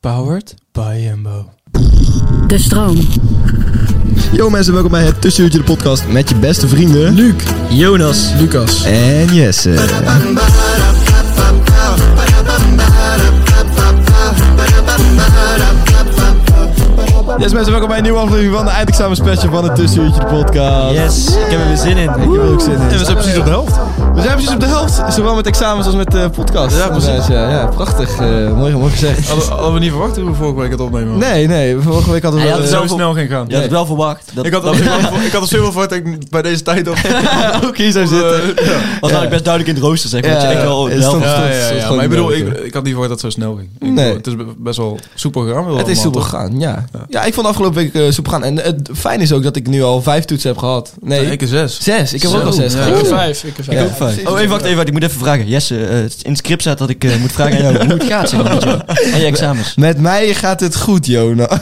Powered by Jumbo. De stroom. Yo mensen, welkom bij het Tussenuurtje de podcast met je beste vrienden... Luc, Jonas Lucas. en Jesse. Yes mensen, welkom bij een nieuwe aflevering van de eindexamen special van het Tussenuurtje de podcast. Yes, ik heb er weer zin in. Ik heb er ook zin in. En we zijn precies op de helft. We zijn precies op de helft, zowel met examens als met de podcast. Ja, precies. Dus, Ja, ja, prachtig. eh, mooi, mooi gezegd. Hadden, hadden we niet verwacht hoe we vorige week het opnemen. hadden. Nee, nee, vorige week hadden we... Dat het zo eh, snel ging gaan. Je had het wel verwacht. Dat, Ik had, al zoveel- ik had al zoveel verwacht dat ik bij deze tijd op... ook hier zou zitten. was eigenlijk best duidelijk in het rooster, zeg maar. Ja, dat je echt wel ja, de het helft stond- Ja, was. dat ja, is ja, gewoon Maar ik bedoel, ik, duidelijk. ik had niet verwacht dat het zo snel ging. Ik bedoel, Nee. Het is be- best wel soepel gegaan. wel Het is allemaal, soepel toch? gegaan, ja. ja. ik vond afgelopen week eh, soepel gaan. En het fijn is ook dat ik nu al vijf toetsen heb gehad. Nee, Ja, ik een zes. zes. Ik heb Zo, ook al zes ja. gehad. Ik heb vijf. Ik heb vijf. Ja. Ook fijn. Oh, even wacht, even wacht. Ik moet even vragen. Jesse, eh, het in het script staat dat ik eh, moet vragen aan jou hoe het gaat, zeg maar, met jou. En je examens. Met mij gaat het goed, Jona.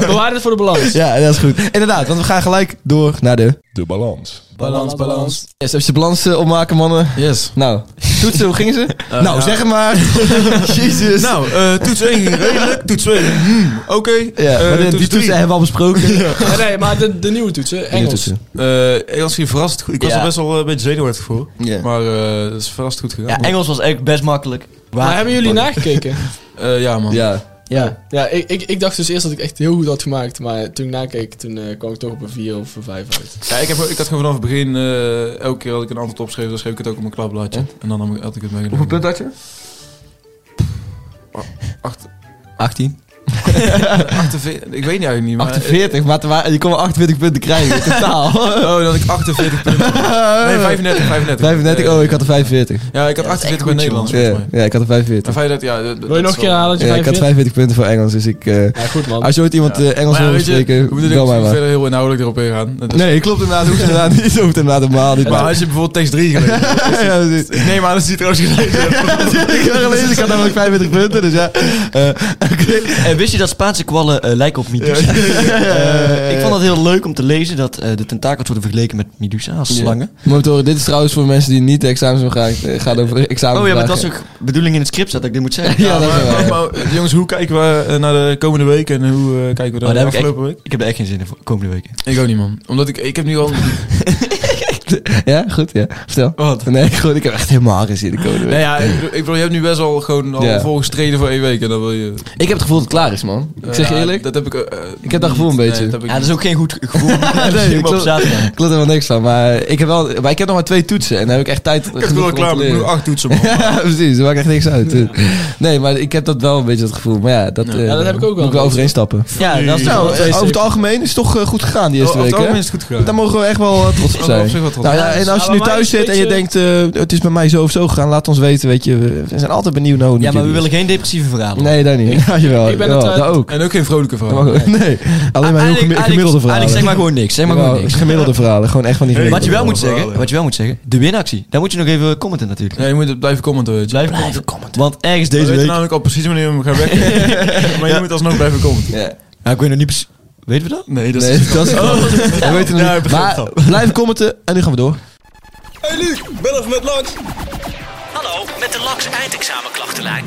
Bewaar het voor de balans. ja, dat is goed. Inderdaad, want we gaan gelijk door naar de... De balans. Balans, balans. Yes, heb je de balans eh, opmaken, mannen? Yes. Nou, toetsen, hoe gingen ze? nou, Eh, ja. zeg het maar. Jezus. Nou, eh, toets 1 ging redelijk. Toets 2, hmm, oké. ja, Eh, maar de- die toets toetsen 3. hebben we al besproken. Ja, nee, maar de, de nieuwe toetsen, Die Engels. toetsen. Eh, Engels ging verrast goed. Ik was Ja. er best wel eh, een beetje zenuwachtig voor. Ja. Maar eh, het is verrast goed gegaan. Ja, Engels was echt best makkelijk. Maar Waar hebben jullie nagekeken? Eh, ja, man. Ja. Ja. Ja, ik, ik, ik dacht dus eerst dat ik echt heel goed had gemaakt. Maar toen ik nakeek, toen eh, kwam ik toch op een 4 of een 5 uit. Ja, ik, heb, ik had gewoon vanaf het begin, eh, elke keer dat ik een antwoord opschreef, dan schreef ik het ook op mijn klabbladje. En dan nam ik- had ik het meegenomen. had je? 18. 48, ik weet niet eigenlijk niet, maar... 48, maar te wa- je kon maar 48 punten krijgen in totaal. Oh, dat ik 48 punten... Nee, 35, 35. 35, Eh, oh, ik had er 45. Ja, ik had Ja, dat is echt 48 bij goed, Nederlands, volgens Ja, mij. ja, ik had er 45. Maar 35, ja... dat- Wil je dat is nog een keer wel- halen dat je Ja, ik had 45 45? punten voor Engels, dus ik... eh, Ja, goed man. als je ooit iemand eh, Engels Maar ja, wil weet je, spreken, we moeten bel er mij niet maar. verder heel inhoudelijk erop ingaan. Dat is- Nee, klopt inderdaad. Hoeft inderdaad niet. Hoeft inderdaad helemaal niet. Maar als je bijvoorbeeld tekst 3 gelezen hebt, ja, dus- precies. Ik neem aan dat ze die trouwens gelezen hebben. ik heb gelezen, ik had namelijk 45 punten, dus ja. eh, Oké. En Eh, wist je dat Spaanse kwallen eh, lijken op Medusa? Eh, ik vond het heel leuk om te lezen dat eh, de tentakels worden vergeleken met Medusa als slangen. Motoren, dit is trouwens voor mensen die niet de examens hebben gehaald. Het gaat over examen. Oh ja, maar dat was ook bedoeling in het script dat ik dit moet zeggen. Ja, dat is maar, wel. maar, maar, jongens, hoe kijken we eh, naar de komende week en hoe eh, kijken we Oh, naar daar de heb ik echt- afgelopen week? Ik heb er echt geen zin in voor komende weken. Ik ook niet, man. Omdat ik, ik heb nu al... Ja, goed, ja. Vertel. Wat? Nee, goed, ik heb echt helemaal geen zin in de code. Nou ja, ik bedoel, ik bedoel, je hebt nu best wel gewoon al Ja. volgestreden voor één week en dan wil je... Ik heb het gevoel dat het klaar is, man. Ik zeg je Ja, eerlijk, Dat heb ik... eh, Ik heb dat gevoel een niet. beetje. Nee, dat heb ik Ja, dat niet. is ook geen goed gevoel. ik nee, op klopt. zaterdag. klopt er helemaal niks van. Maar ik heb, wel, maar ik heb nog maar twee toetsen en dan heb ik echt tijd Ik heb het wel klaar, maar ik moet acht toetsen, man. Ja, precies. Dat maakt echt niks uit. Nee, maar ik heb dat wel een beetje dat gevoel. Maar ja, dat, eh, Ja, dat heb ik ook wel. Moet ik wel overeen stappen. Ja, dat is Nou, wel- eh, Over het algemeen is het toch eh, goed gegaan die Oh, over het algemeen is het goed gegaan. Daar mogen we echt wel eh, trots op Oh, zijn. op zich wel trots. Nou ja, en als je nu Maar wij thuis zijn zit en je een denkt, eh, het is bij mij zo of zo gegaan, laat ons weten, weet je. We we zijn altijd benieuwd naar hoe het Ja, met maar we jullie willen geen depressieve verhalen. is. Nee, daar niet. Ja, jawel. Ik ben Jawel, het, eh, dat ook. En ook geen vrolijke Dat verhaal. mag ook. Nee, alleen maar heel gemi- Eigenlijk- gemiddelde eigenlijk- verhalen. Eigenlijk zeg maar gewoon niks. Zeg maar gewoon Jawel, niks. Gemiddelde verhalen, gewoon echt van die Hey. Wat gemiddelde. je wel moet Gemiddelde zeggen, verhalen. wat je wel moet zeggen, de winactie. Daar moet je nog even commenten natuurlijk. Ja, je moet het blijven commenten, weet je. Blijf commenten. nou- Want ergens We deze weten week... namelijk al precies wanneer we hem gaan weg. maar je moet alsnog blijven commenten. Ja. Ja, ik weet nog niet precies... Weten we dat? Nee, dat is... Nee, dat is We weten het Ja, ik niet. begrijp Maar blijf commenten en nu gaan we door. Hallo, met de LAX eindexamenklachtenlijn.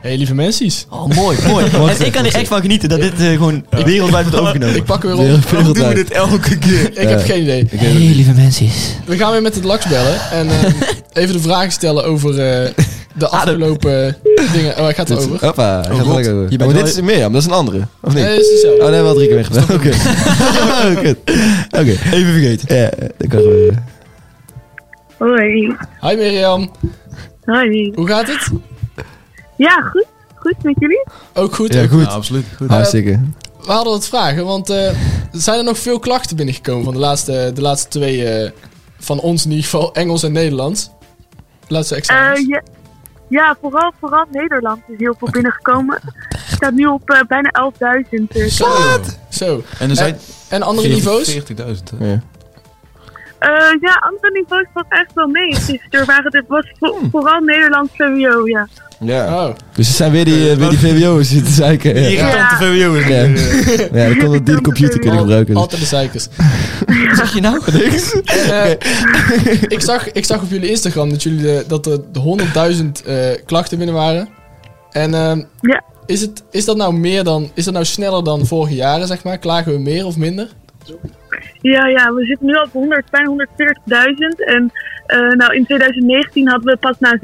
hey, lieve mensen. Oh, mooi, mooi. en ik kan er echt van genieten dat dit eh, gewoon wereldwijd wordt Ik overgenomen. pak er weer Heel op. veel tijd. elke keer? Ik heb geen idee. Hey, lieve mensen. We gaan weer met het laks bellen. En eh, even de vragen stellen over eh, Ah, de afgelopen dingen. Oh, hij gaat Dit, erover. hoppa, hij gaat God. gelijk over. Je bent Oh, maar wel- dit is Mirjam, dat is een andere. Of niet? Nee, dat Eh, is hetzelfde. Oh, daar hebben we al drie keer mee gedaan. Oké. Oh, kut. Oké. Even vergeten. Ja, dat kan gebeuren. Hoi. Hi Mirjam, Hoi. hoe gaat het? Ja, goed. Goed met jullie? Ook goed. Ja, ook- goed. Ja, absoluut. Goed. Hartstikke. We hadden wat vragen, want eh, zijn er nog veel klachten binnengekomen van de laatste, de laatste twee, eh, van ons in ieder geval, Engels en Nederlands? De laatste examens. Eh, ja, ja, vooral, vooral Nederland is heel veel binnengekomen. Staat nu op eh, bijna 11.000. Dus. Zo. Zo. Eh, En er zijn En andere niveaus? 40.000. hè? Ja. Eh, ja, andere niveaus valt echt wel mee. Gisteren waren het was vo- vooral Nederland VWO, ja. ja. Oh. Dus het zijn weer die, eh, weer die VWO'ers die te zeiken. Ja. Irritante VWO is Ja. ja, dan kon dat die de computer kunnen gebruiken. Dus. Altijd de zeikers. Wat zeg je nou? En, eh, ik, zag, ik zag op jullie Instagram dat, jullie de, dat er de 100.000 eh, klachten binnen waren. En ehm, Ja. is, het, is dat nou meer dan, is dat nou sneller dan vorige jaren, zeg maar? Klagen we meer of minder? Ja, ja, we zitten nu al op 100, bijna 140.000. En eh, nou, in 2019 hadden we pas na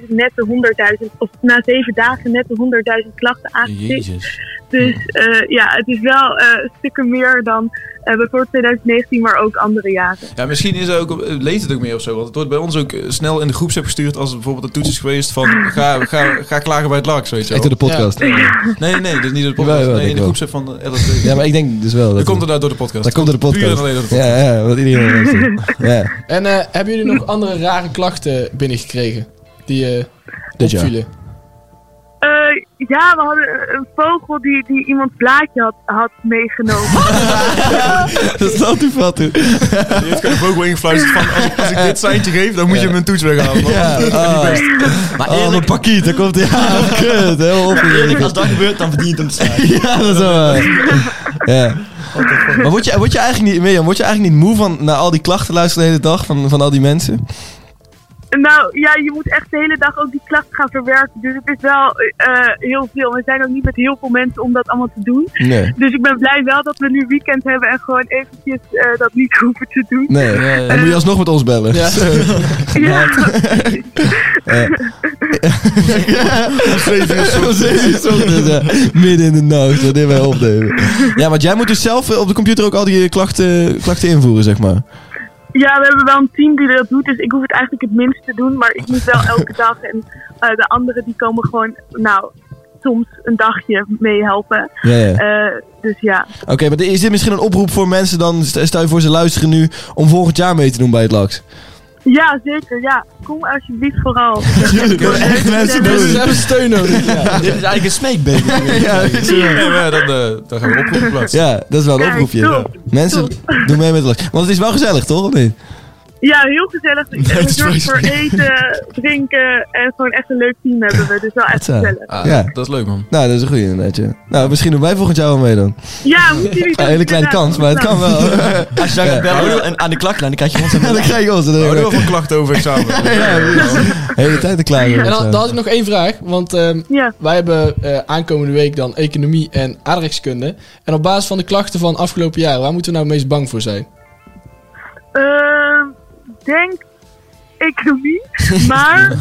7.000 net de 100.000, of na 7 dagen net de 100.000 klachten aangetikt. Jezus. Dus eh, ja, het is wel eh, stukken meer dan eh bijvoorbeeld 2019, maar ook andere jaren. Ja, misschien is er ook, eh, leest het ook meer of zo. Want het wordt bij ons ook eh, snel in de groepsapp gestuurd als het bijvoorbeeld een toets is geweest van ga, ga, ga klagen bij het LAX, weet je Echt wel. door de podcast. Ja, Nee, nee, dus niet door de podcast. Jawel, jawel, nee, in denk de ik groepsapp van de LSD. maar ik denk dus wel. Dat komt er nou door de podcast. dat komt door de Puur en podcast. alleen door de podcast. Ja, ja, wat iedereen wil luisteren. Ja, En eh, hebben jullie nog andere rare klachten binnengekregen? Die eh Dit jaar. opvielen? Eh, ja, we hadden een vogel die, die iemand blaadje had, had meegenomen. dat staat u vat toe. Die heeft gewoon een vogel ingefluisterd van als ik, als ik dit seintje geef, dan moet je mijn toets weghalen. want Ja, dat is niet ah. best. Maar Oh, eerlijk, mijn pakiet, daar komt hij aan. Kut, heel eerlijk, opgegeven. als dat gebeurt, dan verdient hem te zijn. Ja, dat is wel waar. Ja. Maar word je, Eh, word je eigenlijk niet, Mirjam, word je eigenlijk niet moe van naar al die klachten luisteren de hele dag van, van al die mensen? nou ja, je moet echt de hele dag ook die klachten gaan verwerken. Dus het is wel eh, eh, heel veel. We zijn ook niet met heel veel mensen om dat allemaal te doen. Nee. Dus ik ben blij wel dat we nu weekend hebben en gewoon eventjes eh, dat niet hoeven te doen. Nee. Dan moet je alsnog met ons bellen. Ja. Ja, Dus, ja, midden in de nacht, wanneer wij opnemen. Ja, want jij moet dus zelf eh, op de computer ook al die eh, klachten, klachten invoeren, zeg maar. ja, we hebben wel een team die dat doet. Dus ik hoef het eigenlijk het minst te doen. Maar ik moet wel elke dag. En eh, de anderen die komen gewoon, nou, soms een dagje meehelpen. Ja, ja. Eh, dus ja. Oké, maar is dit misschien een oproep voor mensen dan, st- stel je voor ze luisteren nu, om volgend jaar mee te doen bij het LAX? Ja, zeker. Ja. Kom alsjeblieft vooral. echt mensen Mensen hebben steun nodig. Ja. Dit is eigenlijk een smeekbeker. Ja, Ja, maar dan, eh, dan gaan we oproepen plaatsen. ja, dat is wel een Kijk, oproepje. top. Mensen, doe mee met het LAX. Want het is wel gezellig, toch? Of niet? Ja, heel gezellig. We zorgen voor eten, drinken en gewoon echt een leuk team hebben we. Dus wel echt Dat, eh, gezellig. Ah, Ja. Dat is leuk, man. Nou, dat is een goede inderdaad, ja. Nou, misschien doen wij volgend jaar wel mee dan. Ja, moeten jullie Een dat hele kleine inderdaad kans, maar het kan wel. Als je daar gaat bellen en aan de klak laat, dan krijg je ons Ja, dan krijg je ons. Dan We houden wel van klachten over examen. de hele tijd te klaar. En dan, dan had ik nog één vraag, want ehm, Ja. wij hebben eh, aankomende week dan economie en aardrijkskunde. En op basis van de klachten van afgelopen jaar, waar moeten we nou het meest bang voor zijn? Ehm, denk economie. Maar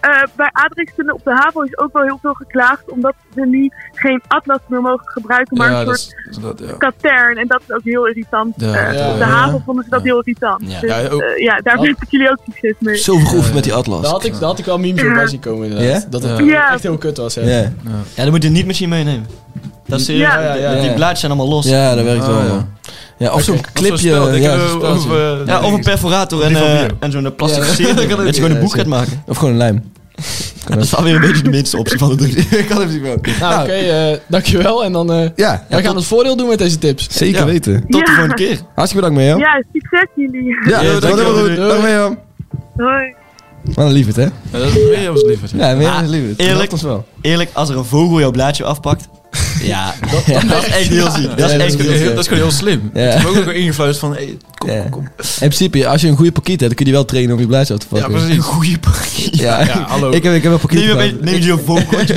eh, bij aardrijkskunde op de HAVO is ook wel heel veel geklaagd. Omdat ze nu geen atlas meer mogen gebruiken, maar Ja, een dat soort is, dat, ja. katern. En dat is ook heel irritant. Ja, Eh, ja, op de ja. HAVO vonden ze dat heel irritant. Ja. Dus Ja, ook- eh, ja, daar Wat? wens ik jullie ook succes mee. Zo geoefend met die Daar atlas. had ik, daar had ik wel memes op bij zien komen inderdaad. Ja? Dat het Ja. echt heel kut was. Hè. Ja, Ja, dan moet je niet misschien meenemen. Dat is serieus. Ja. Ja, ja, ja. Die blaadjes zijn allemaal los. ja dat werkt Ah, wel, ja. man. Ja, of zo'n Clipje. clipje. ja, zo'n speltje. eh, Ja, of een perforator en, Die van eh, hier. en zo'n plastic serie. dat kan ook. Dat je gewoon een Ja, boek gaat maken. Of gewoon een lijm. Dat is wel weer een beetje de minste optie van de drie. Ik kan het niet meer. Nou, oké, eh, dankjewel. En dan, eh, Ja, wij gaan ons voordeel doen met deze tips. zeker Ja. weten. Tot de Ja. volgende keer. Hartstikke bedankt, Mirjam. Ja, succes jullie. Ja, dat dankjewel. doen we goed. Doei. Dag, Mirjam. Hoi. Wat een lieverd, hè? Ja, dat is meer als liever. Ja, Mirjam is Ah, lieverd. eerlijk. Dat ons wel. Eerlijk, als er een vogel jouw blaadje afpakt. Ja, dat, dat is echt heel ziek. Dat Ja, dat is echt is Dat is heel gewoon heel- ziek. dat is gewoon heel slim. Ja. Ik heb ook nog ingefluisterd van, hey, kom, Ja. kom, kom. In principe, als je een goede pakiet hebt, dan kun je die wel trainen om je blaadjes uit te Ja, pakken. precies. Goeie pakket. Ja, Ja, hallo. Ik heb, ik heb een pakiet Neem je, gehad. neem je een vogeltje.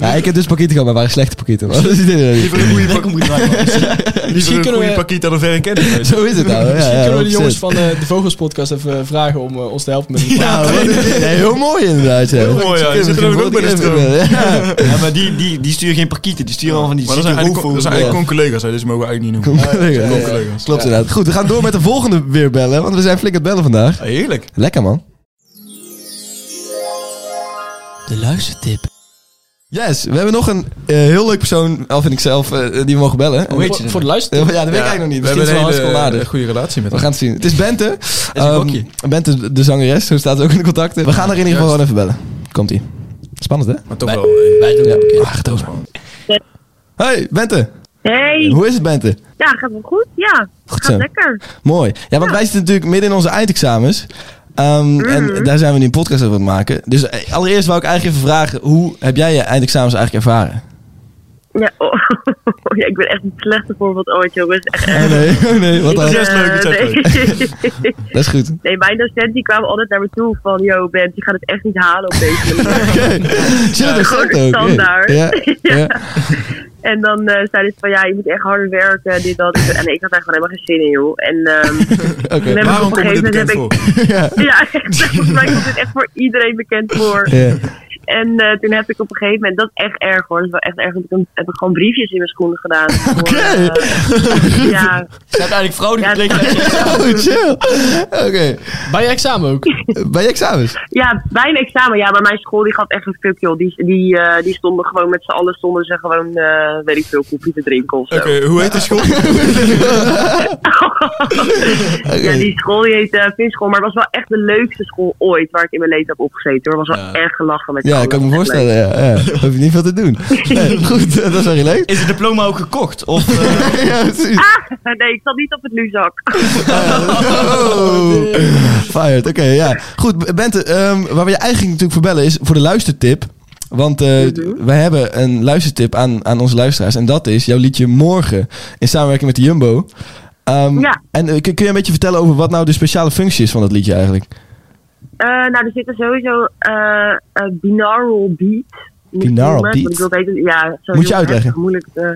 Ja, ik heb dus pakieten gehad, maar waren slechte pakieten. man. Dat is iedereen. Liever een goede pak- liever een kunnen goede we- pakiet dan een verre kennis. Zo is het nou. Ja, Misschien ja, kunnen we de 100%. jongens van eh, de Vogelspodcast even eh, vragen om eh, ons te helpen met een Ja, wat een- ja, heel mooi inderdaad. Ja. Heel mooi, ja. Die zitten er ook bij de stroom. Ja. Ja, maar die, die, die sturen geen pakieten. Die sturen al van die Maar dat zijn zieke eigenlijk, dat zijn roofvogels. eigenlijk con-collega's, hè, dus die mogen we eigenlijk niet noemen. Collega's. Ja, Ja, ja. con-collega's. Klopt inderdaad. Goed, we gaan door met de volgende weer bellen, want we zijn flink aan het bellen vandaag. Ja, Ah, heerlijk. Lekker man. De luistertip. Yes, we hebben nog een eh, heel leuk persoon, al vind ik zelf, eh, die we mogen bellen. Hoe heet Voor, je voor de luister. Ja, dat weet ik eigenlijk nog niet. We Misschien hebben is het wel een hele hartstikke eh, onaardig. goede relatie met We hem. gaan het zien. Het is Bente. een Ehm, gokje. Bente, de zangeres. Zo staat ze ook in de contacten. We gaan haar in ieder geval gewoon even bellen. Komt-ie. Spannend, hè? Maar toch wel. eh, Wij doen het Ah, gaat over. Hey, Bente. Hey, Hoe is het, Bente? ja, gaat wel goed? Ja, Goed gaat zo. lekker. Mooi. Ja, want Ja. wij zitten natuurlijk midden in onze eindexamens. Ehm, En daar zijn we nu een podcast over aan het maken. Dus eh, allereerst wou ik eigenlijk even vragen... hoe heb jij je eindexamens eigenlijk ervaren? Ja, oh, ja, ik ben echt een slechte voorbeeld ooit, jongens. Echt, Oh nee, oh nee. Wat dan? eh, Dat leuk, iets echt nee. is goed. nee, mijn docent die kwamen altijd naar me toe van... Yo, Bent, je gaat het echt niet halen op deze manier. Zit er docent gewoon ook? Hey. standaard. Ja, ja. En dan eh zeiden ze van, ja, je moet echt harder werken, dit, dat. En ik had daar gewoon helemaal geen zin in, joh. En ehm, toen heb ik Waarom op een komt dit gegeven moment bekend heb voor? ik... Ja, echt, volgens mij komt dit echt voor iedereen bekend voor. Ja. En eh, toen heb ik op een gegeven moment, dat is echt erg hoor, dat is wel echt erg, want ik heb ik gewoon briefjes in mijn schoenen gedaan. Voor, eh, ja, Ze hebben eigenlijk vrouwen ja, gekleed. Oh, chill. Oké. Bij je examen ook. Bij je examens? ja, bij een examen, ja, maar mijn school die gaat echt een fuck joh. Die, die, eh, die stonden gewoon met z'n allen, stonden ze gewoon, eh, weet ik veel, koffie te drinken of zo. Oké, hoe heet de school? Ja, die school die heet eh Vinschool, maar het was wel echt de leukste school ooit waar ik in mijn leven heb opgezeten. hoor. Het was wel erg gelachen met z'n Ja, allen. ik kan me Dat was echt voorstellen. Ja, ja. Hoef je niet veel te doen. Nee, goed, dat is wel heel leuk. Is het diploma ook gekocht? Of, eh, Ja, precies. leuk. Ah, nee, ik zat niet op het Luzak. Oh. Fired, oké, ja. Goed, Bente, ehm, waar we je eigenlijk natuurlijk voor bellen is voor de luistertip. Want eh, wij hebben een luistertip aan, aan onze luisteraars. En dat is jouw liedje Morgen in samenwerking met de Jumbo. Ehm, Ja. En eh, kun, kun je een beetje vertellen over wat nou de speciale functie is van dat liedje eigenlijk? Eh, nou, er zitten sowieso eh eh binaural beat. moet ik Binaural noemen, want beat. Ik wil weten, ja, sowieso Moet je uitleggen. heftig Moeilijk, eh,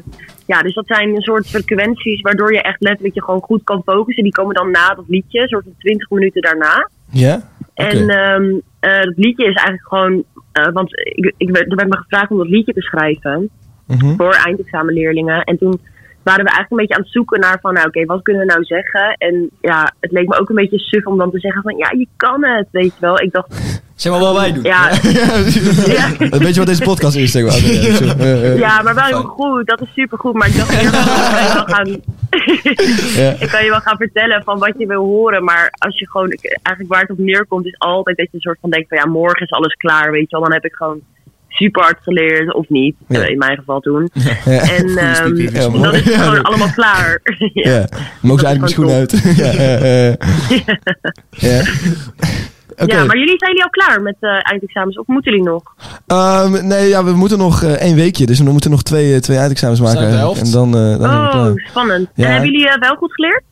ja, dus dat zijn een soort frequenties waardoor je echt letterlijk je gewoon goed kan focussen. Die komen dan na dat liedje, een soort van 20 minuten daarna. Ja? Oké. En ehm eh, het liedje is eigenlijk gewoon, eh, want ik, ik, werd- er werd me gevraagd om dat liedje te schrijven Mhm. voor eindexamenleerlingen. En toen waren we eigenlijk een beetje aan het zoeken naar van, nou oké, wat kunnen we nou zeggen? En ja, het leek me ook een beetje suf om dan te zeggen van, ja, je kan het, weet je wel. Ik dacht, zeg maar wat wij doen. ja, Ja, Ja. Een beetje Eh, wat deze podcast is, zeg maar. Oké, ja, zo, eh, eh, Ja, maar wel heel goed. Dat is supergoed. Maar ik dacht, eerst, ik kan je wel gaan... Ja. ik kan je wel gaan vertellen van wat je wil horen. Maar als je gewoon... ik- Eigenlijk waar het op neerkomt is altijd dat je een soort van denkt van... Ja, morgen is alles klaar, weet je wel. Dan heb ik gewoon super hard geleerd. Of niet. Ja. eh, In mijn geval toen. Ja. En ehm, speaker. Ja, dan mooi. is het Ja, gewoon allemaal klaar. ja. Ja, dan mogen ze Dat eigenlijk mijn is schoenen gewoon uit. ja, eh, eh. ja. Oké. ja, maar jullie zijn jullie al klaar met eh eindexamens? Of moeten jullie nog? Ehm, nee, ja, we moeten nog eh, één weekje, dus we moeten nog twee, eh, twee eindexamens maken. Zijn we de eigenlijk. helft? En dan, eh, dan zijn we oh, klaar. spannend. Ja. En hebben jullie eh, wel goed geleerd?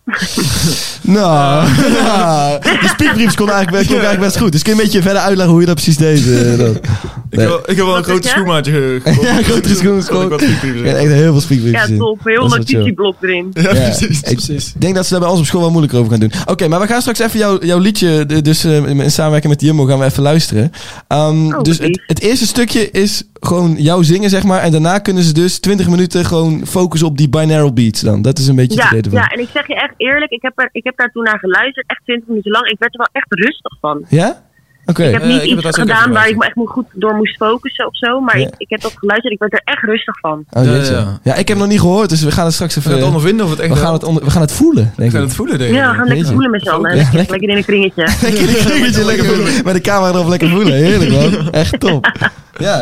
Nou, ja. de speakbriefs kon eigenlijk, best- klonk eigenlijk best goed. Dus kun je een beetje verder uitleggen hoe je dat precies deed? eh, dat? Ik heb wel- Ik heb wel een Wat grote zeg je? schoenmaatje ge- gekocht. Ja, grotere Zodat schoen ik gesproken. wat speaker Ik zeg. heb echt heel veel speakbriefs Ja, gezien. top. Heel Dat is wel chill. notitieblok erin. Ja, Ja, precies. ik denk dat ze daar bij ons op school wel moeilijker over gaan doen. Oké, maar we gaan straks even jouw, jouw liedje, de- dus eh, in samenwerking met Jumbo, gaan we even luisteren. Ehm, Oh, dus precies. het, het eerste stukje is gewoon jou zingen, zeg maar. En daarna kunnen ze dus 20 minuten gewoon focussen op die binaural beats dan. Dat is een beetje Ja, het idee ervan. ja, en ik zeg je echt eerlijk, ik heb, er, ik heb daar toen naar geluisterd, echt 20 minuten lang. Ik werd er wel echt rustig van. Ja? Oké. Ik heb Eh, niet ik heb het iets laatst ook gedaan even waar ik geluisterd. me echt mo- goed door moest focussen of zo, maar Ja. ik, ik heb dat geluisterd, ik werd er echt rustig van. Oh, Ja, jeetje. ja. ja, ik heb nog niet gehoord, dus we gaan het straks We even... gaan het ondervinden of het echt... we, gaan het onder- we gaan het voelen, We denk gaan ik. het voelen, denk ik. Ja, we gaan lekker jeetje. voelen met z'n allen. Ja, Lekker- lekker. Lekker in een kringetje. Lekker die kringetje, lekker voelen. Met de camera erop lekker voelen. Heerlijk man. Echt top. Ja,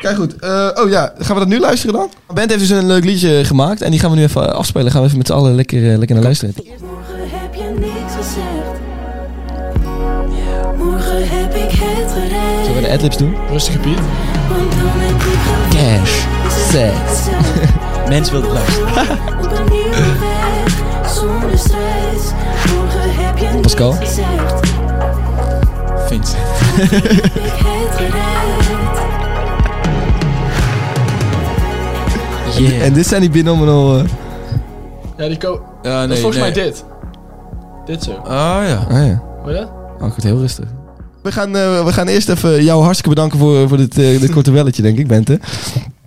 kijk goed. Eh, oh ja, gaan we dat nu luisteren dan? Bent heeft dus een leuk liedje gemaakt. En die gaan we nu even afspelen. Gaan we even met z'n allen lekker, eh, lekker naar luisteren. Morgen heb je niks gezegd. Morgen heb ik het Zullen we gered. de adlibs doen? Rustige Piet. Want dan heb ik Cash. Sex. gezegd. Mens wil het luisteren. Op een nieuwe weg, zonder stress. Pascal? gezegd. Vincent. Ik het gered. Yeah. En dit zijn die binominal... eh, Ja, die ko... Ja, nee, dat is volgens nee. mij dit. Dit zo. Ah ja. ah ja. Hoor je dat? Oh, goed, heel rustig. We gaan, eh, we gaan eerst even jou hartstikke bedanken voor, voor dit, eh, dit korte belletje, denk ik, Bente.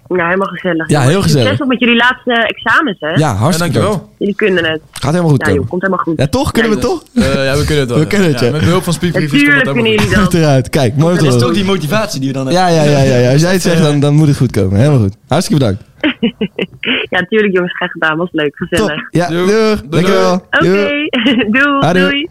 Nou, helemaal gezellig. Ja, heel gezellig. Succes nog met jullie laatste examens, hè? Ja, ja hartstikke dankjewel. bedankt. Jullie kunnen het. Gaat helemaal goed, Ja, joh, komen. komt helemaal goed. Ja, toch? Kunnen we toch? Eh, ja, we kunnen het wel. We ja. kunnen het, ja. Met behulp van speakerbriefjes komt Natuurlijk het kunnen helemaal goed. jullie dat. Achteruit. Kijk, mooi om te Dat Oh. is toch horen. die motivatie die we dan hebben. Ja, ja, ja, ja, ja. Als jij het zegt, dan, dan moet het goed komen. Helemaal goed. Hartstikke bedankt. Ja, natuurlijk jongens, graag gedaan. Was leuk, gezellig. Top. Ja, Doei. doeg. Doei, Dankjewel. Oké, Doei. doei. Adieu. doei.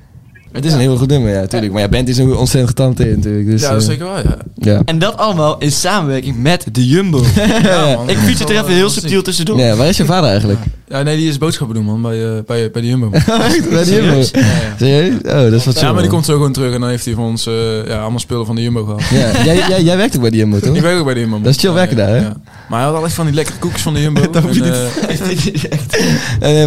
Het is een heel goed nummer, ja, tuurlijk. Maar ja, Bent is een ontzettend getalenteerd natuurlijk. Dus, Ja, dat is eh, zeker wel, ja. Ja. En dat allemaal in samenwerking met de Jumbo. Ja, man. Ik fiets het er even heel subtiel tussendoor. Ja, waar is je vader eigenlijk? Ja, nee, die is boodschappen doen, man, bij, eh, bij, bij de Jumbo. Bij de Jumbo. Serieus? Serieus? Oh, dat is wat Ja, maar die komt zo gewoon terug en dan heeft hij van ons eh, ja, allemaal spullen van de Jumbo gehaald. Ja, jij, jij, jij werkt ook bij de Jumbo, Ik toch? werk ook bij de Jumbo. man. Dat is chill Ja, werken ja, daar, hè? ja. Maar hij had altijd van die lekkere koekjes van de Jumbo. en, eh, Eh, Nee,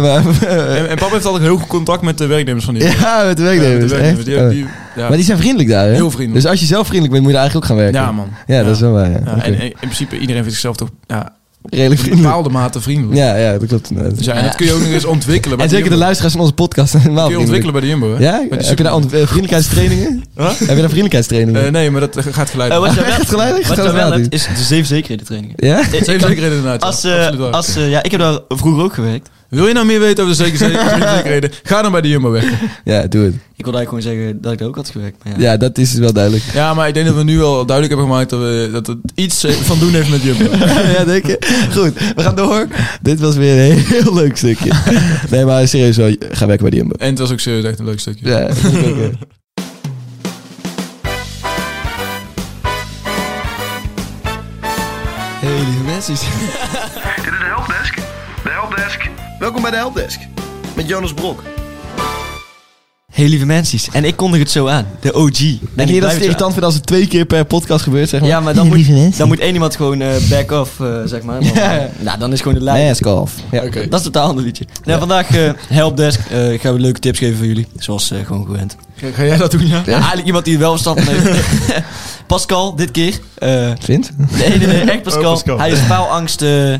maar... en, en papa heeft altijd heel goed contact met de werknemers van de Jumbo. Ja, met de Ja, met de werknemers. werknemers. echt? Die, Oh. die, ja. Maar die zijn vriendelijk daar, hè? Heel vriendelijk. Dus als je zelf vriendelijk bent, moet je daar eigenlijk ook gaan werken. ja, man. Ja, dat is wel waar, ja. Ja, Oké. en, en in principe, iedereen vindt zichzelf toch ja, Redelijk op een vriendelijk. bepaalde mate vriendelijk. Ja, ja, dat klopt. inderdaad. Dus ja, en dat kun je ook nog eens ontwikkelen. bij En de zeker de Jumbo. luisteraars van onze podcast zijn helemaal kun je ontwikkelen bij vriendelijk. de Jumbo, hè? Ja? Met die Heb je daar ont- eh, vriendelijkheidstrainingen? Huh? Heb je daar vriendelijkheidstrainingen? Eh, nee, maar dat eh, gaat geleid. Eh, wat je Echt wel, geleidelijk? wat je Gaat wel wel hebt, is de zeven zekerheden trainingen. Ja? Ik- Ze ik heeft kan- zeker reden inderdaad. Als, ja. eh, Absoluut waar. als, eh, ja, ik heb daar vroeger ook gewerkt. Wil je nou meer weten over de zeker zekerheden? Ga dan bij de Jumbo weg. Ja, doe het. Ik wilde eigenlijk gewoon zeggen dat ik daar ook had gewerkt. Maar ja. Ja, dat is wel duidelijk. Ja, maar ik denk dat we nu al duidelijk hebben gemaakt dat, we, dat het iets eh, van doen heeft met Jumbo. ja, denk je? Goed, we gaan door. Dit was weer een heel leuk stukje. Nee, maar serieus wel, ga werken bij de Jumbo. En het was ook serieus echt een leuk stukje. Ja, dat vind ik ook, eh. Hey, lieve mensen. Dit is de helpdesk. De helpdesk. Welkom bij de Helpdesk met Jonas Brok. Hey lieve mensen, en ik kondig het zo aan. De OG. Denk je niet dat het irritant vindt als het twee keer per podcast gebeurt, zeg maar? Ja, maar dan moet, dan moet één iemand gewoon eh, back off, eh, zeg maar. Dan, Ja. eh, nou, dan is gewoon de lijn. Nee, Skalf. Ja. Oké. Dat is totaal ander liedje. Nou, Vandaag eh, helpdesk. eh gaan we leuke tips geven voor jullie. Zoals eh, gewoon gewend. Ga, ga jij dat doen, ja? Ja, eigenlijk iemand die er wel verstand van heeft. Pascal, dit keer. Eh, Vindt? nee, nee, nee, echt Pascal. Oh, Pascal. Hij is faalangst eh,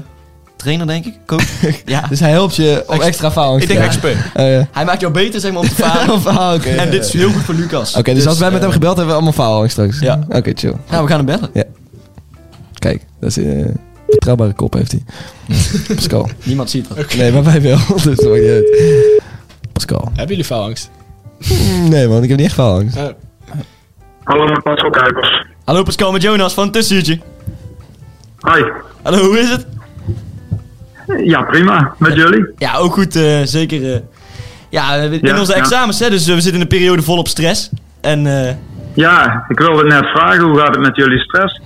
trainer, denk ik. Coach. ja. Dus hij helpt je om extra faalangst Ik te denk krijgen. Expert. Oh, ja. Hij maakt jou beter, zeg maar, om te falen. Of- ah, oké. en dit is heel goed voor Lucas. Oké, dus, als wij met hem gebeld hebben, hebben we allemaal faalangst straks. eh, Ja. Oké, chill. Nou, we gaan hem bellen. Kijk, dat is eh, een betrouwbare kop heeft hij. Pascal. Niemand ziet dat. Nee, maar wij wel. Dus dat maakt niet uit. Pascal. Hebben jullie faalangst? Nee man, ik heb niet echt faalangst. Eh, Hallo, met Marcel Kuipers. Hallo Pascal met Jonas van Tussenuurtje. Hoi. Hallo, hoe is het? Ja, prima. Met jullie? Ja, ook goed, eh, zeker. eh, ja, eh, in Ja, onze ja. examens, hè, dus eh, we zitten in een periode volop stress. En eh, Ja, ik wilde net vragen, hoe gaat het met jullie stress?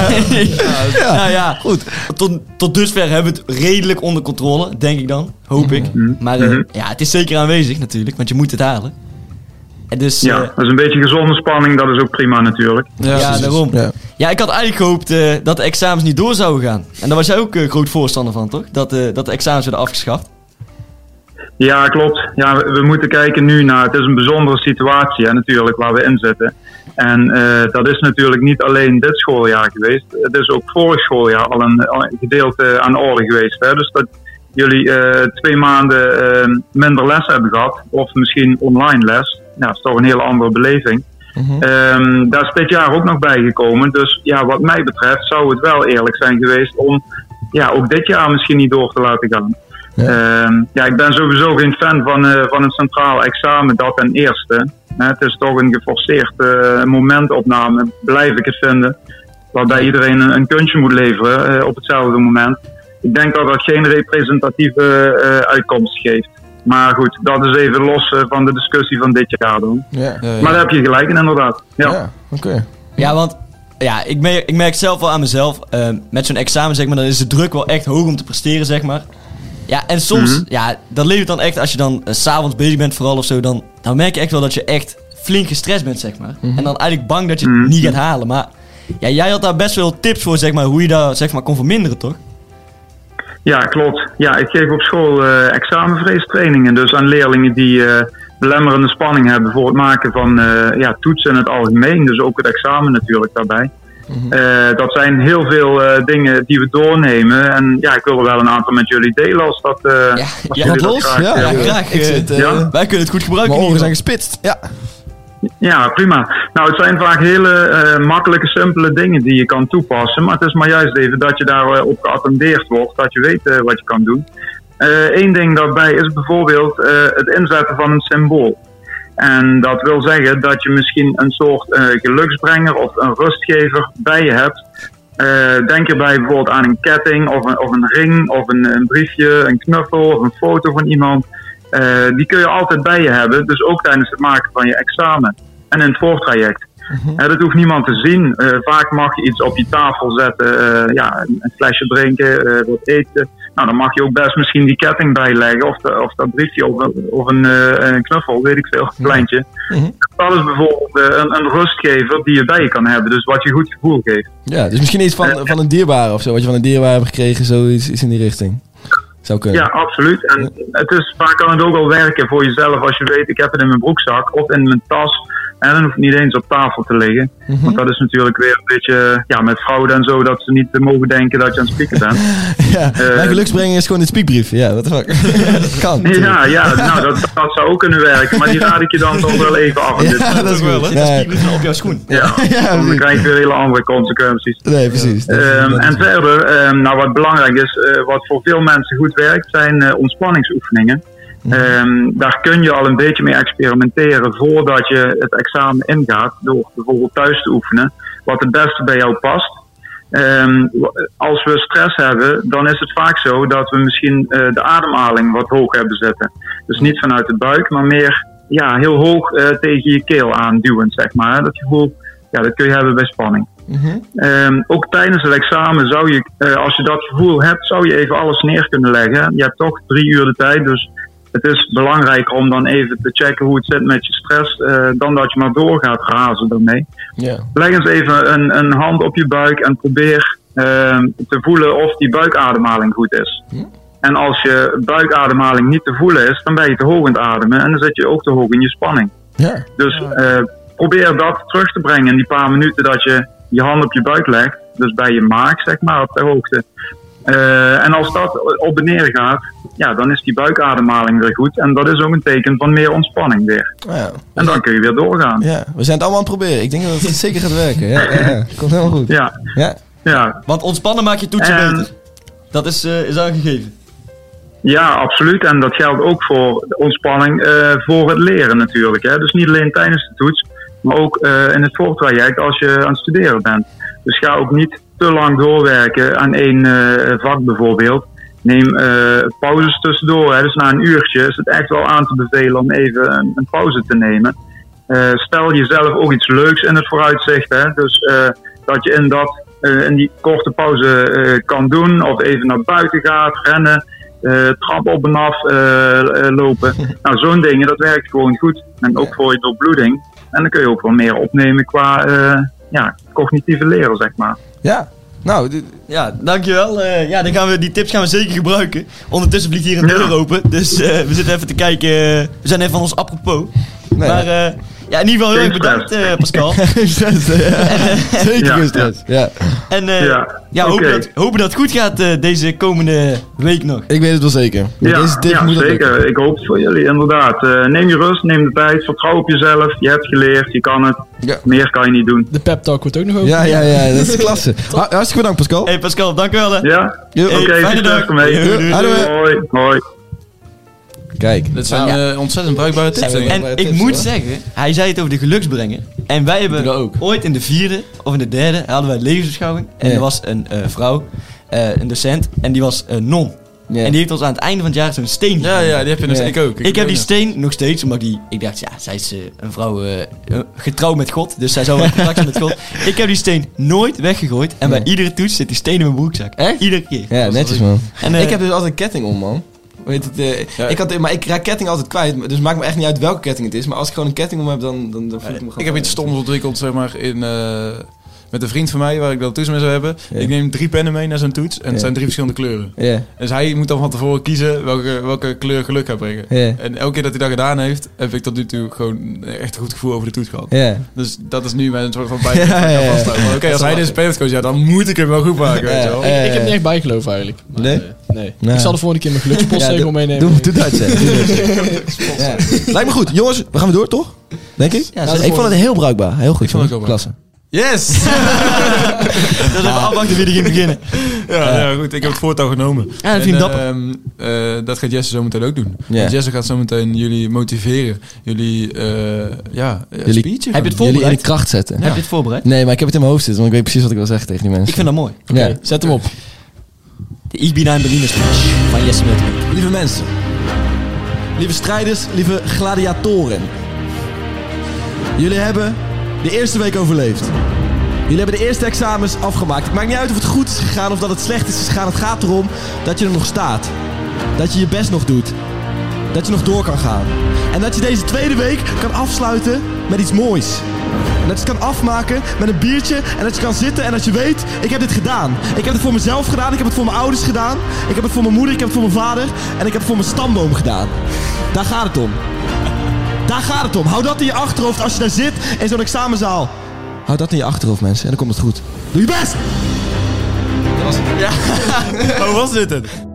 nou ja, goed. Tot, tot dusver hebben we het redelijk onder controle, denk ik dan. Hoop ik. Mhm. Maar eh, ja, het is zeker aanwezig natuurlijk, want je moet het halen. En dus, Ja, eh, dat is een beetje gezonde spanning, dat is ook prima natuurlijk. ja, precies. daarom. Ja. Ja. ik had eigenlijk gehoopt eh, dat de examens niet door zouden gaan. En daar was jij ook eh, groot voorstander van, toch? Dat, eh, dat de examens werden afgeschaft. Ja, klopt. Ja, we, we moeten kijken nu naar. Het is een bijzondere situatie hè, natuurlijk waar we in zitten. En eh, dat is natuurlijk niet alleen dit schooljaar geweest. Het is ook vorig schooljaar al een, al een gedeelte aan de orde geweest. Hè. Dus dat jullie eh, twee maanden eh, minder les hebben gehad, of misschien online les. Ja, dat is toch een hele andere beleving. Ehm, daar is dit jaar ook nog bijgekomen. Dus ja, wat mij betreft zou het wel eerlijk zijn geweest om ja, ook dit jaar misschien niet door te laten gaan. Ehm, ja, ik ben sowieso geen fan van, eh, van een centraal examen, dat ten eerste. Hè, het is toch een geforceerd eh, momentopname, blijf ik het vinden. Waarbij iedereen een, een kunstje moet leveren eh, op hetzelfde moment. Ik denk dat dat geen representatieve eh, uitkomst geeft. Maar goed, dat is even los eh, van de discussie van dit jaar dan. Ja. Ja, ja. Maar daar heb je gelijk in, inderdaad. Ja. oké. Ja, want ja, ik, merk, ik merk het zelf wel aan mezelf. eh, met zo'n examen, zeg maar, dan is de druk wel echt hoog om te presteren, zeg maar. Ja, en soms, ja, dat levert dan echt, als je dan eh, s s'avonds bezig bent vooral of zo, dan, dan merk je echt wel dat je echt flink gestrest bent, zeg maar. En dan eigenlijk bang dat je het niet gaat halen. Maar ja, jij had daar best wel tips voor, zeg maar, hoe je daar, zeg maar, kon verminderen, toch? Ja, klopt. Ja, ik geef op school eh examenvreestrainingen. Dus aan leerlingen die eh, belemmerende spanning hebben voor het maken van eh, ja, toetsen in het algemeen. Dus ook het examen natuurlijk daarbij. Mhm. Eh, dat zijn heel veel eh, dingen die we doornemen. En ja, ik wil er wel een aantal met jullie delen als dat. eh, Ja, als ja, jullie wat dat los? graag, Ja, eh, Ja, graag. Ik eh, zit, eh, ja? Wij kunnen het goed gebruiken. Mijn in oren zijn ieder gespitst. Ja. Ja, prima. Nou, het zijn vaak hele eh, makkelijke, simpele dingen die je kan toepassen. Maar het is maar juist even dat je daarop op geattendeerd wordt, dat je weet eh, wat je kan doen. Eén ding daarbij is bijvoorbeeld eh, het inzetten van een symbool. En dat wil zeggen dat je misschien een soort eh, geluksbrenger of een rustgever bij je hebt. Eh, denk erbij bijvoorbeeld aan een ketting of een, of een ring of een, een briefje, een knuffel of een foto van iemand. Eh, die kun je altijd bij je hebben, dus ook tijdens het maken van je examen en in het voortraject. Eh, dat hoeft niemand te zien. Eh, vaak mag je iets op je tafel zetten, eh, ja, een een flesje drinken, eh, wat eten. Nou, dan mag je ook best misschien die ketting bijleggen of, de- of dat briefje of, een- of een, eh, een knuffel, weet ik veel, een kleintje. Dat is bijvoorbeeld eh, een, een rustgever die je bij je kan hebben, dus wat je goed gevoel geeft. ja, dus misschien iets Eh, van, van een dierbare of zo. Wat je van een dierbare hebt gekregen, zoiets iets in die richting. Zou kunnen. Ja, absoluut. En het is, vaak kan het ook al werken voor jezelf als je weet, ik heb het in mijn broekzak of in mijn tas. En dan hoeft het niet eens op tafel te liggen. Mhm. Want dat is natuurlijk weer een beetje, ja, met fraude en zo, dat ze niet eh, mogen denken dat je aan het spieken bent. Ja, Eh, mijn geluksbrenger is gewoon een spiekbrief. Ja, wat de fuck. kan. natuurlijk. ja, ja, nou, dat, dat zou ook kunnen werken, maar die raad ik je dan toch wel even af. En dit- Ja, dat is wel. geval. Er zit een Ja, spiegel op jouw schoen. ja, ja, want dan precies. krijg je weer hele andere consequenties. Nee, precies. Dat is- Ehm, dat is- en verder, ehm, nou wat belangrijk is, eh, wat voor veel mensen goed werkt, zijn eh, ontspanningsoefeningen. Mhm. Ehm, daar kun je al een beetje mee experimenteren voordat je het examen ingaat, door bijvoorbeeld thuis te oefenen, wat het beste bij jou past. Ehm, w- als we stress hebben, dan is het vaak zo dat we misschien eh, de ademhaling wat hoog hebben zitten. Dus niet vanuit de buik, maar meer ja, heel hoog eh, tegen je keel aanduwend, zeg maar. Dat gevoel, ja, dat kun je hebben bij spanning. Ehm, ook tijdens het examen zou je, eh, als je dat gevoel hebt, zou je even alles neer kunnen leggen. Je hebt toch drie uur de tijd, dus het is belangrijk om dan even te checken hoe het zit met je stress, eh, dan dat je maar door gaat razen daarmee. Ja. Leg eens even een, een hand op je buik en probeer ehm, te voelen of die buikademhaling goed is. En als je buikademhaling niet te voelen is, dan ben je te hoog aan het ademen en dan zit je ook te hoog in je spanning. Ja. Dus eh, probeer dat terug te brengen in die paar minuten dat je je hand op je buik legt. Dus bij je maag, zeg maar, op de hoogte. Eh, en als dat op en neer gaat, ja, dan is die buikademhaling weer goed. En dat is ook een teken van meer ontspanning weer. Ja. En dan kun je weer doorgaan. ja, we zijn het allemaal aan het proberen. Ik denk dat het zeker gaat werken. Ja, ja, ja. Komt helemaal goed. Ja, Ja. ja. Want ontspannen maakt je toetsen Ehm. En- beter. Dat is, eh is aangegeven. Ja, absoluut. En dat geldt ook voor de ontspanning eh, voor het leren natuurlijk. Hè. Dus niet alleen tijdens de toets, maar ook eh, in het voortraject als je aan het studeren bent. Dus ga ook niet te lang doorwerken aan één eh, vak bijvoorbeeld. Neem eh, pauzes tussendoor. Hè. Dus na een uurtje is het echt wel aan te bevelen om even een, een pauze te nemen. Eh, stel jezelf ook iets leuks in het vooruitzicht. Hè. Dus eh, dat je in, dat, eh, in die korte pauze eh, kan doen. Of even naar buiten gaat, rennen, eh, trap op en af eh, eh, lopen. nou, zo'n dingen, dat werkt gewoon goed. En ook voor je doorbloeding. En dan kun je ook wel meer opnemen qua eh, ja, cognitieve leren, zeg maar. Ja. Nou, dit- Ja, dankjewel. Eh, ja, dan gaan we, die tips gaan we zeker gebruiken. Ondertussen vliegt hier een Ja. deur open. Dus eh, we zitten even te kijken. eh, we zijn even van ons apropos. nee. Maar eh, ja, in ieder geval heel erg Geen bedankt, eh, Pascal. Eh, Geen stress, hè? Ja. Zeker Ja, geen stress. Ja. En eh, ja, Ja, hopen, oké. dat, hopen dat het goed gaat eh, deze komende week nog. Ik weet het wel zeker. Met ja, deze tip ja, moet dat zeker. lukken. Ik hoop het voor jullie, inderdaad. Eh, neem je rust, neem de tijd, vertrouw op jezelf. Je hebt geleerd, je kan het. Ja. Meer kan je niet doen. De pep talk wordt ook nog over. Ja, ja, ja. Dat is klasse. Ha- Hartstikke bedankt, Pascal. Hey Pascal, dankjewel. hè. Ja? Jo, Oké, fijne dag. succes ermee. Jo, doei, doei. Hoi, hoi. Kijk. Dit zijn Nou, eh, ontzettend bruikbare tips. denk ik. En ik moet zeggen, hij zei het over de geluksbrenger. En wij hebben dat ook. ooit in de vierde of in de derde hadden wij levensbeschouwing. En Ja. er was een eh, vrouw, eh, een docent, en die was een non. Ja. En die heeft ons aan het einde van het jaar zo'n steen Ja, gegeven. ja, die heb je dus. Ja. Ik ook. Ik heb die ook steen nog steeds, omdat ik die, ik dacht, ja, zij is eh, een vrouw eh, eh, getrouwd met God, dus zij zou wel in contact zijn met God. Ik heb die steen nooit weggegooid en bij iedere toets zit die steen in mijn broekzak. Echt? Iedere keer. Ja, netjes, man. En, eh, ik heb dus altijd een ketting om, man. Weet het, eh, ik had, maar ik raak ketting altijd kwijt. Dus het maakt me echt niet uit welke ketting het is. Maar als ik gewoon een ketting om heb, dan, dan, dan voel ik me nog. gewoon... Ik heb iets fijn. stoms ontwikkeld, zeg maar, in... eh, met een vriend van mij, waar ik wel toets mee zou hebben. Ja. Ik neem drie pennen mee naar zo'n toets. En het Ja. zijn drie verschillende kleuren. Ja. Dus hij moet dan van tevoren kiezen welke, welke kleur geluk gaat brengen. Ja. En elke keer dat hij dat gedaan heeft, heb ik tot nu toe gewoon echt een goed gevoel over de toets gehad. Ja. Dus dat is nu mijn soort van bij. Ja, ja, ja. vasthouden. Maar Oké, als hij deze pen heeft gekozen, ja, dan moet ik hem wel goed maken. Weet je wel. Ik, ik heb Eh. niet echt bijgeloof eigenlijk. Maar, Nee? eh, nee. Nou. Ik zal de volgende keer mijn Ja, gelukspostregel doe- meenemen. Doe, doe Duits, hè. Doe Duits. Ja. Lijkt me goed. Jongens, we gaan weer door, toch? Denk ik? Ja, zeker. ik vond het heel bruikbaar. Heel goed. Ik vond het ook wel Klasse. Yes! Dat is even afwachten wie er ging beginnen. Ja, ja, goed. Ik heb het voortouw genomen. Ja, dat vind ik dapper. ehm, eh, dat gaat Jesse zo meteen ook doen. Ja. Want Jesse gaat zo meteen jullie motiveren. Jullie, eh ja, Jullie- speechen. Heb je het Jullie in de voorbereid? kracht zetten. Heb je het voorbereid? Nee, maar ik heb het in mijn hoofd zitten, want ik weet precies wat ik wil zeggen tegen die Ik mensen. vind dat mooi. Ja. Zet hem op. De Ik bin ein Berliner speech van Jesse Multimedia. Lieve mensen, lieve strijders, lieve gladiatoren. Jullie hebben de eerste week overleefd. Jullie hebben de eerste examens afgemaakt. Het maakt niet uit of het goed is gegaan of dat het slecht is gegaan. Het gaat erom dat je er nog staat. Dat je je best nog doet. Dat je nog door kan gaan. En dat je deze tweede week kan afsluiten met iets moois. En dat je het kan afmaken met een biertje. En dat je kan zitten en dat je weet, ik heb dit gedaan. Ik heb het voor mezelf gedaan. Ik heb het voor mijn ouders gedaan. Ik heb het voor mijn moeder. Ik heb het voor mijn vader. En ik heb het voor mijn stamboom gedaan. Daar gaat het om. Daar gaat het om. Hou dat in je achterhoofd als je daar zit in zo'n examenzaal. Hou dat in je achterhoofd, mensen. En dan komt het goed. Doe je best! Hoe was dit het?